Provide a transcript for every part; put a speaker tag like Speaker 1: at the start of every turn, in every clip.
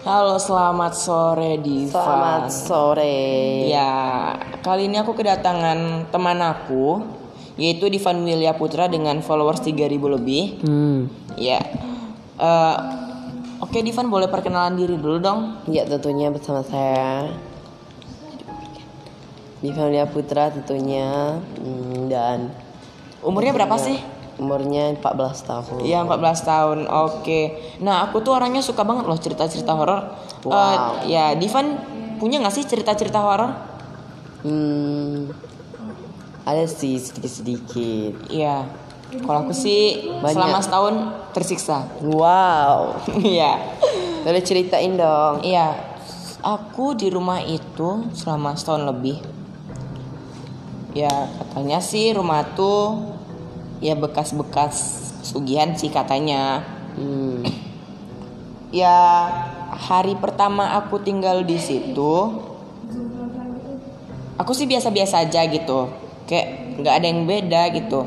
Speaker 1: Halo, selamat sore Diva.
Speaker 2: Selamat sore.
Speaker 1: Ya, kali ini aku kedatangan teman aku yaitu Divan Wilya Putra dengan followers 3000 lebih.
Speaker 2: Hmm.
Speaker 1: Ya. Eh, Oke, Divan boleh perkenalan diri dulu dong.
Speaker 2: Ya tentunya bersama saya Divalia Putra tentunya Hmm, dan Iya.
Speaker 1: Umurnya berapa sih?
Speaker 2: umurnya 14 tahun.
Speaker 1: Ya, 14 tahun. Oke. Nah, aku tuh orangnya suka banget loh cerita-cerita horor. Eh,
Speaker 2: Wow.
Speaker 1: ya, Divan punya nggak sih cerita-cerita horor?
Speaker 2: Hmm, ada sih sedikit-sedikit.
Speaker 1: Iya. Kalau aku sih
Speaker 2: Banyak.
Speaker 1: selama setahun tersiksa.
Speaker 2: Wow.
Speaker 1: Iya.
Speaker 2: Boleh ceritain dong.
Speaker 1: Iya, aku di rumah itu selama setahun lebih. Ya katanya sih rumah tuh ya bekas-bekas sugihan sih katanya.
Speaker 2: Hmm.
Speaker 1: Ya hari pertama aku tinggal di situ, aku sih biasa-biasa aja gitu. Kayak nggak ada yang beda gitu.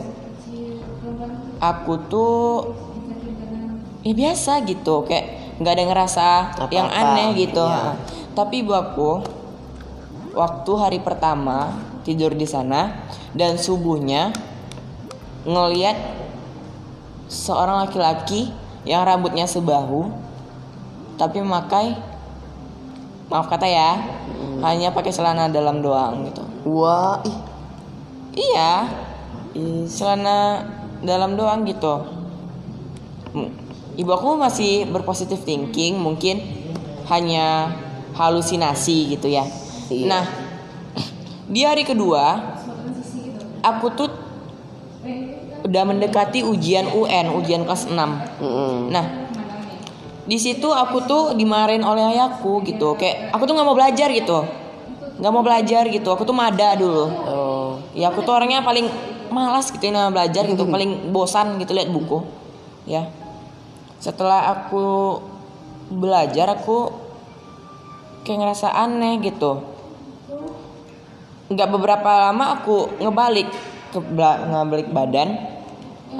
Speaker 1: Aku tuh ya biasa gitu, kayak nggak ada yang ngerasa
Speaker 2: Apa-apa,
Speaker 1: yang aneh gitu.
Speaker 2: iya.
Speaker 1: Tapi ibu aku waktu hari pertama tidur di sana dan subuhnya ngeliat seorang laki-laki yang rambutnya sebahu tapi memakai maaf kata ya
Speaker 2: Hmm.
Speaker 1: hanya pakai celana dalam doang gitu
Speaker 2: Wah, ih,
Speaker 1: iya
Speaker 2: ih,
Speaker 1: celana dalam doang gitu M- ibu aku masih berpositif thinking mungkin hanya halusinasi gitu ya
Speaker 2: Iya.
Speaker 1: nah di hari kedua aku tuh udah mendekati ujian UN ujian kelas 6
Speaker 2: Mm-mm.
Speaker 1: Nah, di situ aku tuh dimarahin oleh ayahku gitu. Kayak aku tuh nggak mau belajar gitu. Nggak mau belajar gitu. Aku tuh mada dulu.
Speaker 2: Oh,
Speaker 1: Ya aku tuh orangnya paling malas gitu yang namanya belajar gitu, paling bosan gitu lihat buku. Ya. Setelah aku belajar aku kayak ngerasa aneh gitu. Nggak beberapa lama aku ngebalik ke bela- ngebalik badan.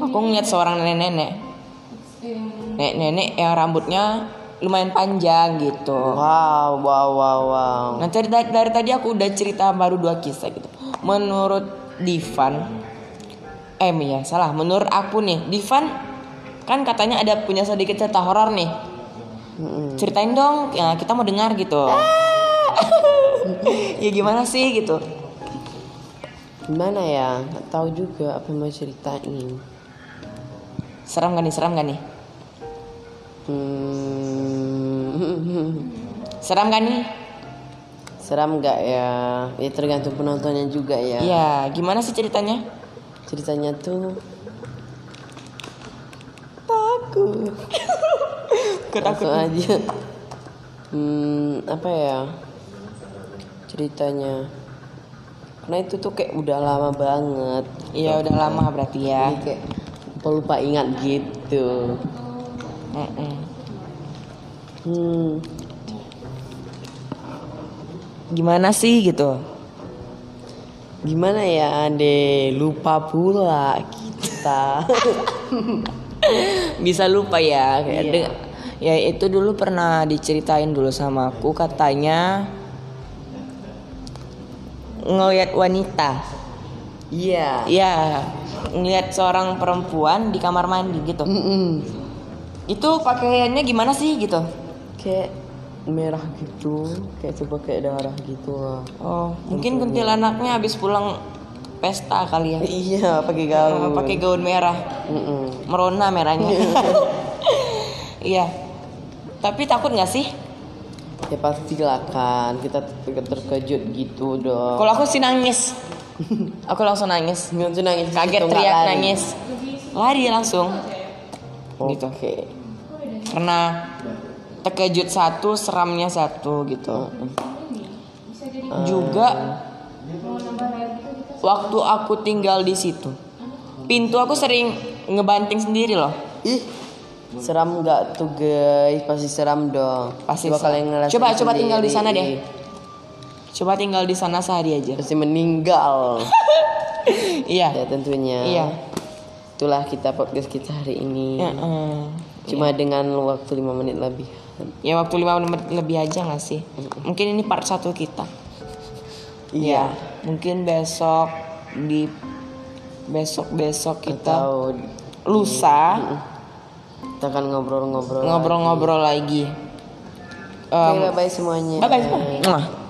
Speaker 1: Aku ngeliat seorang nenek-nenek nenek-nenek yang rambutnya lumayan panjang gitu.
Speaker 2: wow, wow, wow, wow.
Speaker 1: Nah dari, dari, dari tadi aku udah cerita baru dua kisah gitu. Menurut Divan, eh ya salah. Menurut aku nih, Divan kan katanya ada punya sedikit cerita horor nih.
Speaker 2: Hmm.
Speaker 1: Ceritain dong, ya, kita mau dengar gitu. ya gimana sih gitu?
Speaker 2: Gimana ya? Nggak tahu juga apa yang mau ceritain.
Speaker 1: Seram gak nih? Seram gak nih?
Speaker 2: Hmm.
Speaker 1: Seram gak nih?
Speaker 2: Seram nggak ya? Ya tergantung penontonnya juga ya.
Speaker 1: Iya, gimana sih ceritanya?
Speaker 2: Ceritanya tuh takut. Langsung
Speaker 1: Ketakut.
Speaker 2: aja. Hmm, apa ya? Ceritanya. Karena itu tuh kayak udah lama banget.
Speaker 1: Iya udah lama berarti ya.
Speaker 2: Jadi kayak pelupa ingat gitu.
Speaker 1: Mm-mm.
Speaker 2: Hmm,
Speaker 1: Gimana sih gitu?
Speaker 2: gimana ya, Ade? Lupa pula kita.
Speaker 1: bisa lupa ya kayak
Speaker 2: Iya.
Speaker 1: deng- ya itu dulu pernah diceritain dulu sama aku katanya ngelihat wanita
Speaker 2: Iya.
Speaker 1: ya ngelihat seorang perempuan di kamar mandi gitu
Speaker 2: Mm-mm.
Speaker 1: itu pakaiannya gimana sih gitu
Speaker 2: kayak merah gitu kayak coba kayak darah gitu lah
Speaker 1: oh mungkin kuntilanaknya habis pulang pesta kali ya
Speaker 2: iya pakai
Speaker 1: Eh,
Speaker 2: gaun
Speaker 1: pakai gaun merah
Speaker 2: Mm-mm.
Speaker 1: merona merahnya iya tapi takut nggak sih
Speaker 2: ya pasti lah kan kita ter- terkejut gitu dong
Speaker 1: kalau aku sih nangis aku langsung nangis
Speaker 2: Nggak tuh nangis
Speaker 1: kaget
Speaker 2: gitu, nggak
Speaker 1: teriak
Speaker 2: lari.
Speaker 1: nangis lari langsung
Speaker 2: oke
Speaker 1: gitu karena terkejut satu seramnya satu gitu juga waktu aku tinggal di situ pintu aku sering ngebanting sendiri loh
Speaker 2: ih seram nggak tuh guys pasti seram dong
Speaker 1: pasti
Speaker 2: coba kalian
Speaker 1: seram.
Speaker 2: ngerasain
Speaker 1: coba coba tinggal di sana
Speaker 2: sendiri.
Speaker 1: deh coba tinggal di sana sehari aja
Speaker 2: pasti meninggal
Speaker 1: iya
Speaker 2: ya tentunya
Speaker 1: iya
Speaker 2: itu itulah kita podcast kita hari ini.
Speaker 1: Ya, eh.
Speaker 2: Cuma dengan waktu 5 menit lebih.
Speaker 1: Ya, waktu 5 menit lebih aja nggak sih? Mungkin ini part satu kita. Ya,
Speaker 2: Iya.
Speaker 1: mungkin besok di besok-besok kita
Speaker 2: Atau
Speaker 1: lusa
Speaker 2: kita akan ngobrol-ngobrol.
Speaker 1: ngobrol-ngobrol lagi.
Speaker 2: Oke,
Speaker 1: Em,
Speaker 2: bye-bye semuanya.
Speaker 1: bye bye.